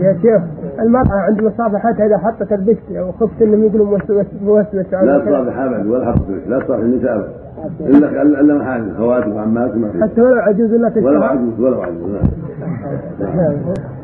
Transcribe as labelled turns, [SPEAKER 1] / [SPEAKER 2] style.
[SPEAKER 1] يا شيخ المرأة عند مصافحتها إذا حطت البكت وخفت أنهم يقولوا موسوسة
[SPEAKER 2] لا تصافح ابد ولا حط فيك لا تصافح النساء ابد الا الا محارم خواتم وعمات ما في
[SPEAKER 1] حتى ولو عجوز لا
[SPEAKER 2] ولا
[SPEAKER 1] تشتغل
[SPEAKER 2] عجوز ولا عجوز نعم. نعم.